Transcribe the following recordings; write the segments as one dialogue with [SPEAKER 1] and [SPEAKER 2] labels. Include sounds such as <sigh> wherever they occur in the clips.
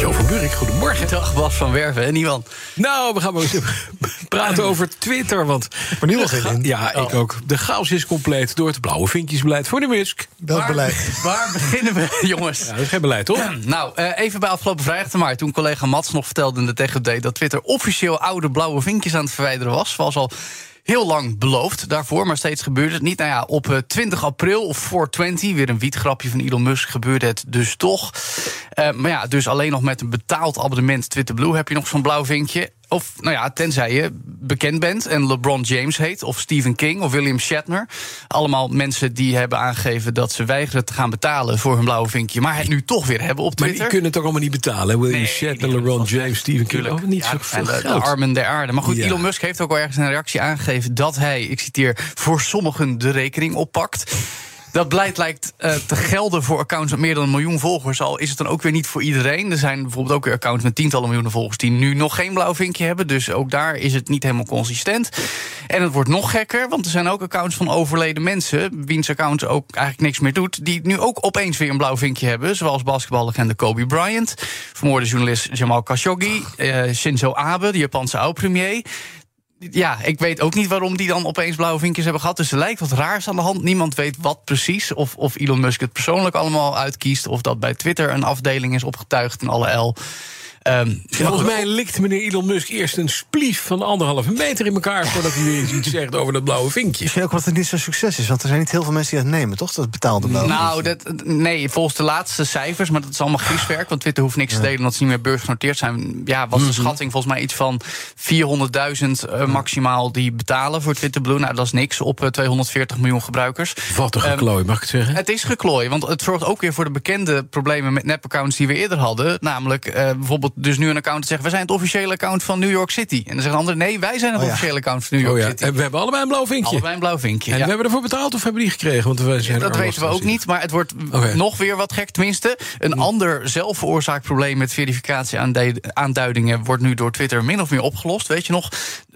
[SPEAKER 1] Jo van Buurik, goedemorgen.
[SPEAKER 2] Dag Bas van Werven en Iwan.
[SPEAKER 1] Nou, we gaan <laughs> maar eens praten over Twitter. Want
[SPEAKER 2] Maar nu al geen zin.
[SPEAKER 1] Ja, ik
[SPEAKER 2] Oh.
[SPEAKER 1] ook. De chaos is compleet door het blauwe vinkjesbeleid voor de Musk.
[SPEAKER 2] Waar-
[SPEAKER 3] Welk beleid?
[SPEAKER 2] <laughs> Waar beginnen we, jongens?
[SPEAKER 1] Ja, dat is geen beleid, toch?
[SPEAKER 2] Nou, eh, even bij afgelopen vrijdag te maar. Toen collega Mats nog vertelde in de Tech Update... dat Twitter officieel oude blauwe vinkjes aan het verwijderen was. Was al heel lang beloofd daarvoor, maar steeds gebeurde het niet. Nou ja, op eh, 20 april of 420, weer een wietgrapje van Elon Musk... gebeurde het dus toch. Eh, maar ja, dus alleen nog met een betaald abonnement Twitter Blue... heb je nog zo'n blauw vinkje. Of, nou ja, tenzij je bekend bent en LeBron James heet, of Stephen King, of William Shatner. Allemaal mensen die hebben aangegeven dat ze weigeren te gaan betalen voor hun blauwe vinkje. Maar het nu toch weer hebben op
[SPEAKER 1] Maar die
[SPEAKER 2] Twitter.
[SPEAKER 1] kunnen het ook allemaal niet betalen. William
[SPEAKER 2] Nee,
[SPEAKER 1] Shatner,
[SPEAKER 2] die doen
[SPEAKER 1] LeBron
[SPEAKER 2] het wel.
[SPEAKER 1] James, Steven King.
[SPEAKER 2] Tuurlijk.
[SPEAKER 1] Oh, niet
[SPEAKER 2] Ja,
[SPEAKER 1] zo
[SPEAKER 2] en
[SPEAKER 1] veel
[SPEAKER 2] de, de
[SPEAKER 1] geld.
[SPEAKER 2] armen der aarde. Maar goed,
[SPEAKER 1] Ja.
[SPEAKER 2] Elon Musk heeft ook al ergens in een reactie aangegeven dat hij, ik citeer, voor sommigen de rekening oppakt. Dat beleid lijkt eh, te gelden voor accounts met meer dan een miljoen volgers. Al is het dan ook weer niet voor iedereen. Er zijn bijvoorbeeld ook weer accounts met tientallen miljoenen volgers die nu nog geen blauw vinkje hebben. Dus ook daar is het niet helemaal consistent. En het wordt nog gekker, want er zijn ook accounts van overleden mensen. wiens account ook eigenlijk niks meer doet. die nu ook opeens weer een blauw vinkje hebben. Zoals basketballegende Kobe Bryant. vermoorde journalist Jamal Khashoggi. eh, Shinzo Abe, de Japanse oud-premier. Ja, ik weet ook niet waarom die dan opeens blauwe vinkjes hebben gehad. Dus er lijkt wat raars aan de hand. Niemand weet wat precies. Of, of Elon Musk het persoonlijk allemaal uitkiest. Of dat bij Twitter een afdeling is opgetuigd en alle L. Ehm,
[SPEAKER 1] Volgens mij likt meneer Elon Musk eerst een splief van anderhalve meter in elkaar... voordat hij weer eens iets zegt over dat blauwe vinkje.
[SPEAKER 3] Misschien ook wat het niet zo'n succes is, want er zijn niet heel veel mensen die dat nemen, toch? Dat betaalde wel.
[SPEAKER 2] Nou, dat, nee, volgens de laatste cijfers, maar dat is allemaal grieswerk. Want Twitter hoeft niks te delen omdat ze niet meer beursgenoteerd zijn. Ja, was de schatting volgens mij iets van 400.000 eh, maximaal die betalen voor Twitter Blue. Nou, dat is niks op eh, 240 miljoen gebruikers.
[SPEAKER 1] Wat een geklooi, mag ik het zeggen?
[SPEAKER 2] Het is geklooi, want het zorgt ook weer voor de bekende problemen met nepaccounts die we eerder hadden. Namelijk eh, bijvoorbeeld dus nu een account dat zegt, wij zijn het officiële account van New York City. En dan zegt een ander, nee, wij zijn het
[SPEAKER 3] Oh ja.
[SPEAKER 2] officiële account van New
[SPEAKER 1] Oh
[SPEAKER 2] York
[SPEAKER 1] ja,
[SPEAKER 2] City.
[SPEAKER 1] en we hebben allebei een blauw vinkje.
[SPEAKER 2] Allebei een blauw vinkje.
[SPEAKER 1] En
[SPEAKER 2] ja.
[SPEAKER 1] we hebben ervoor betaald of hebben die gekregen? Want wij zijn
[SPEAKER 2] Dat
[SPEAKER 1] er
[SPEAKER 2] weten we ook
[SPEAKER 1] lastig.
[SPEAKER 2] niet, maar het wordt
[SPEAKER 1] Oké. Mm.
[SPEAKER 2] nog weer wat gek. Tenminste, een ander zelfveroorzaakt probleem met verificatieaanduidingen wordt nu door Twitter min of meer opgelost. Weet je nog,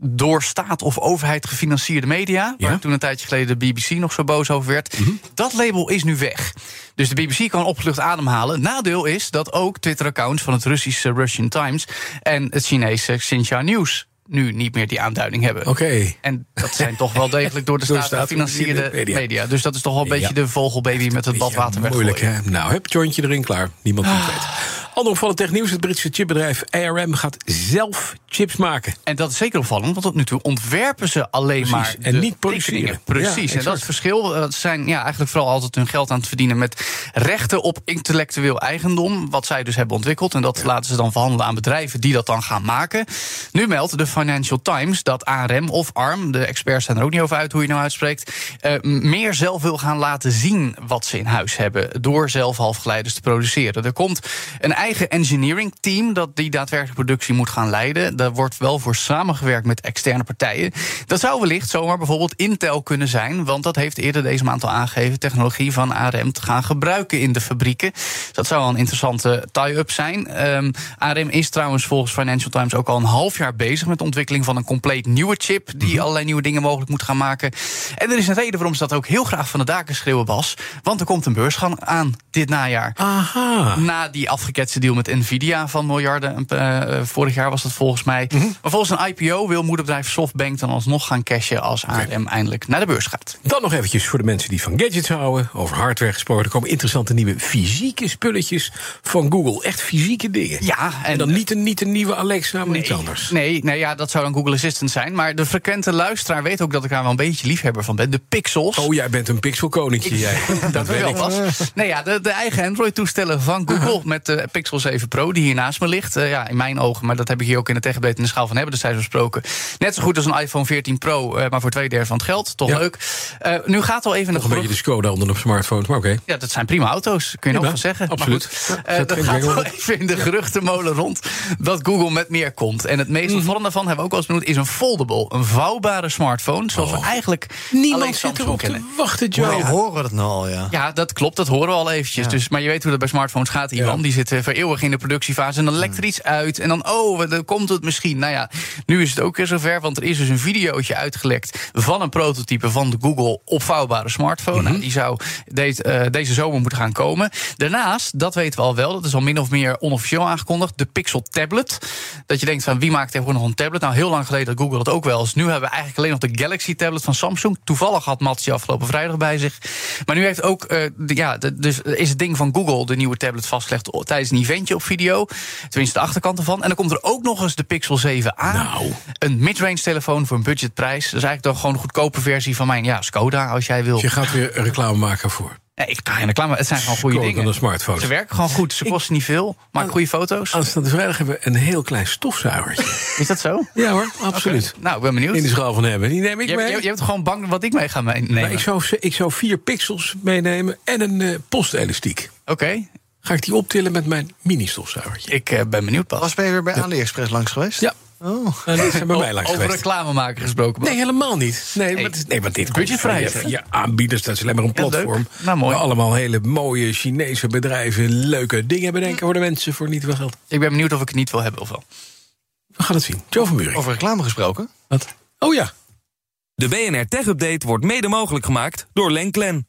[SPEAKER 2] door staat of overheid gefinancierde media.
[SPEAKER 1] Ja. Mhm.
[SPEAKER 2] Waar toen een tijdje geleden de BBC nog zo boos over werd. Dat label is nu weg. Dus de BBC kan opgelucht ademhalen. Nadeel is dat ook Twitter-accounts van het Russische Russian Times en het Chinese Xinhua News nu niet meer die aanduiding hebben.
[SPEAKER 1] Oké.
[SPEAKER 2] En dat zijn toch wel degelijk door de
[SPEAKER 1] <laughs> Door
[SPEAKER 2] staat
[SPEAKER 1] staat
[SPEAKER 2] gefinancierde
[SPEAKER 1] gefinancierde media.
[SPEAKER 2] media. Dus dat is toch wel een beetje
[SPEAKER 1] Ja.
[SPEAKER 2] de vogelbaby met het
[SPEAKER 1] Beetje
[SPEAKER 2] badwater weggooien.
[SPEAKER 1] Moeilijk, hè? Nou, heb het jointje erin klaar. Niemand die het weet. Ander opvallend technieuws. Het Britse chipbedrijf ARM gaat zelf chips maken.
[SPEAKER 2] En dat is zeker opvallend, want tot nu toe ontwerpen ze alleen
[SPEAKER 1] Precies,
[SPEAKER 2] maar.
[SPEAKER 1] en
[SPEAKER 2] de
[SPEAKER 1] niet produceren.
[SPEAKER 2] tekeningen.
[SPEAKER 1] Ja,
[SPEAKER 2] Precies. en
[SPEAKER 1] exact.
[SPEAKER 2] dat is het verschil. Eh, Ze zijn ja, eigenlijk vooral altijd hun geld aan het verdienen met rechten op intellectueel eigendom. Wat zij dus hebben ontwikkeld. En dat laten ze dan verhandelen aan bedrijven die dat dan gaan maken. Nu meldt de Financial Times dat ARM of ARM, de experts zijn er ook niet over uit hoe je nou uitspreekt. eh, meer zelf wil gaan laten zien wat ze in huis hebben. Door zelf halfgeleiders te produceren. Er komt een eigen engineering team dat die daadwerkelijke productie moet gaan leiden. Daar wordt wel voor samengewerkt met externe partijen. Dat zou wellicht zomaar bijvoorbeeld Intel kunnen zijn. Want dat heeft eerder deze maand al aangegeven technologie van ARM te gaan gebruiken in de fabrieken. Dus dat zou wel een interessante tie-up zijn. Ehm, ARM is trouwens volgens Financial Times ook al een half jaar bezig met de ontwikkeling van een compleet nieuwe chip. Die allerlei nieuwe dingen mogelijk moet gaan maken. En er is een reden waarom ze dat ook heel graag van de daken schreeuwen, Bas. Want er komt een beursgang aan dit najaar.
[SPEAKER 1] Aha.
[SPEAKER 2] Na die afgeketste deal met Nvidia van miljarden, eh, eh, vorig jaar was dat volgens mij. Maar volgens een IPO wil moederbedrijf SoftBank dan alsnog gaan cashen als ARM eindelijk naar de beurs gaat.
[SPEAKER 1] Dan nog eventjes voor de mensen die van gadgets houden. Over hardware gesproken. Er komen interessante nieuwe fysieke spulletjes van Google. Echt fysieke dingen.
[SPEAKER 2] Ja, en,
[SPEAKER 1] En dan niet een, niet een nieuwe Alexa, maar iets anders.
[SPEAKER 2] Nee, nee ja, dat zou dan Google Assistant zijn. Maar de frequente luisteraar weet ook dat ik daar wel een beetje liefhebber van ben. De Pixels.
[SPEAKER 1] Oh, jij bent een pixelkoninkje, jij.
[SPEAKER 2] <laughs> dat weet ik was. Nee, ja, de, de eigen Android-toestellen van Google met de Pixel 7 Pro, die hier naast me ligt. Eh, ja, in mijn ogen, maar dat heb ik hier ook in de tech update in de schaal van hebben, dus zij besproken. Net zo goed als een iPhone 14 Pro, eh, maar voor twee derde van het geld. Toch
[SPEAKER 1] Ja.
[SPEAKER 2] leuk. Eh, nu gaat al even
[SPEAKER 1] Nog een beetje de Skoda onder op smartphones, maar oké.
[SPEAKER 2] ja, dat zijn prima auto's, kun je nog
[SPEAKER 1] Prima,
[SPEAKER 2] van zeggen. Maar
[SPEAKER 1] absoluut.
[SPEAKER 2] goed,
[SPEAKER 1] Ja,
[SPEAKER 2] eh,
[SPEAKER 1] zet
[SPEAKER 2] dat
[SPEAKER 1] geen
[SPEAKER 2] gaat
[SPEAKER 1] jingle
[SPEAKER 2] wel
[SPEAKER 1] op.
[SPEAKER 2] even in de geruchtenmolen rond dat Google met meer komt. En het meest
[SPEAKER 1] Mhm.
[SPEAKER 2] opvallende daarvan, hebben we ook al eens benoemd, is een foldable. Een vouwbare smartphone, zoals we eigenlijk alleen
[SPEAKER 1] Oh. Niemand zit
[SPEAKER 2] Samsung
[SPEAKER 1] erop
[SPEAKER 2] kennen.
[SPEAKER 1] te wachten,
[SPEAKER 3] Hoe
[SPEAKER 1] Joe.
[SPEAKER 3] horen we dat nou al, ja?
[SPEAKER 2] Ja, dat klopt, dat horen we al eventjes. Dus, maar je weet hoe dat bij smartphones gaat, Iwan.
[SPEAKER 1] Ja.
[SPEAKER 2] Die zitten vroeger eeuwig in de productiefase. En dan lekt er iets uit. En dan, oh, dan komt het misschien. Nou ja, nu is het ook weer zover. Want er is dus een videootje uitgelekt van een prototype van de Google opvouwbare smartphone. Nou, die zou deze, eh, deze zomer moeten gaan komen. Daarnaast, dat weten we al wel, dat is al min of meer onofficieel aangekondigd, de Pixel Tablet. Dat je denkt van wie maakt tegenwoordig nog een tablet? Nou, heel lang geleden had Google dat ook wel eens. Nu hebben we eigenlijk alleen nog de Galaxy Tablet van Samsung. Toevallig had Mats die afgelopen vrijdag bij zich. Maar nu heeft ook, eh, de- ja, de- dus is het ding van Google de nieuwe tablet vastgelegd o- tijdens een eventje op video. Tenminste, de achterkant ervan. En dan komt er ook nog eens de Pixel 7a.
[SPEAKER 1] Nou.
[SPEAKER 2] Een mid-range telefoon voor een budgetprijs. Dat is eigenlijk dan gewoon een goedkope versie van mijn ja, Skoda, als jij wil.
[SPEAKER 1] Je gaat weer reclame maken voor.
[SPEAKER 2] Nee, ik ga in de reclame. Het zijn gewoon goede
[SPEAKER 1] Koop dan
[SPEAKER 2] dingen.
[SPEAKER 1] een smartphone.
[SPEAKER 2] Ze werken gewoon goed. Ze kosten niet veel.
[SPEAKER 1] Oh.
[SPEAKER 2] Maken goede foto's.
[SPEAKER 1] Aanstaande vrijdag hebben we een heel klein stofzuigertje.
[SPEAKER 2] Is dat zo?
[SPEAKER 1] ja hoor, absoluut.
[SPEAKER 2] Nou, ik ben benieuwd.
[SPEAKER 1] In de schaal van hebben. Die neem ik
[SPEAKER 2] Je,
[SPEAKER 1] mee.
[SPEAKER 2] je, je bent gewoon bang wat ik mee ga meenemen.
[SPEAKER 1] Maar ik, zou, ik zou vier pixels meenemen en een eh, postelastiek.
[SPEAKER 2] Oké,
[SPEAKER 1] Ga ik die optillen met mijn mini-stofzuigertje.
[SPEAKER 2] ik eh, ben benieuwd pas.
[SPEAKER 3] Was ben je weer bij AliExpress langs geweest?
[SPEAKER 1] Ja.
[SPEAKER 3] Oh.
[SPEAKER 1] Nou, die zijn bij mij langs
[SPEAKER 2] Over
[SPEAKER 1] geweest.
[SPEAKER 2] reclamemaker gesproken.
[SPEAKER 1] Nee, helemaal niet. Nee, maar, het is- nee, maar dit komt
[SPEAKER 2] Budgetvrij,
[SPEAKER 1] van
[SPEAKER 2] hè?
[SPEAKER 1] je, je aanbieders. Dat is alleen maar een
[SPEAKER 2] Ja,
[SPEAKER 1] platform.
[SPEAKER 2] leuk. Nou, mooi.
[SPEAKER 1] Waar allemaal hele mooie Chinese bedrijven leuke dingen bedenken voor de mensen voor niet veel geld.
[SPEAKER 2] Ik ben benieuwd of ik het niet wil hebben of wel.
[SPEAKER 1] We gaan het zien. Joe van Buurik.
[SPEAKER 3] Over reclame gesproken.
[SPEAKER 1] Wat? Oh ja.
[SPEAKER 4] De BNR Tech Update wordt mede mogelijk gemaakt door Lenklen.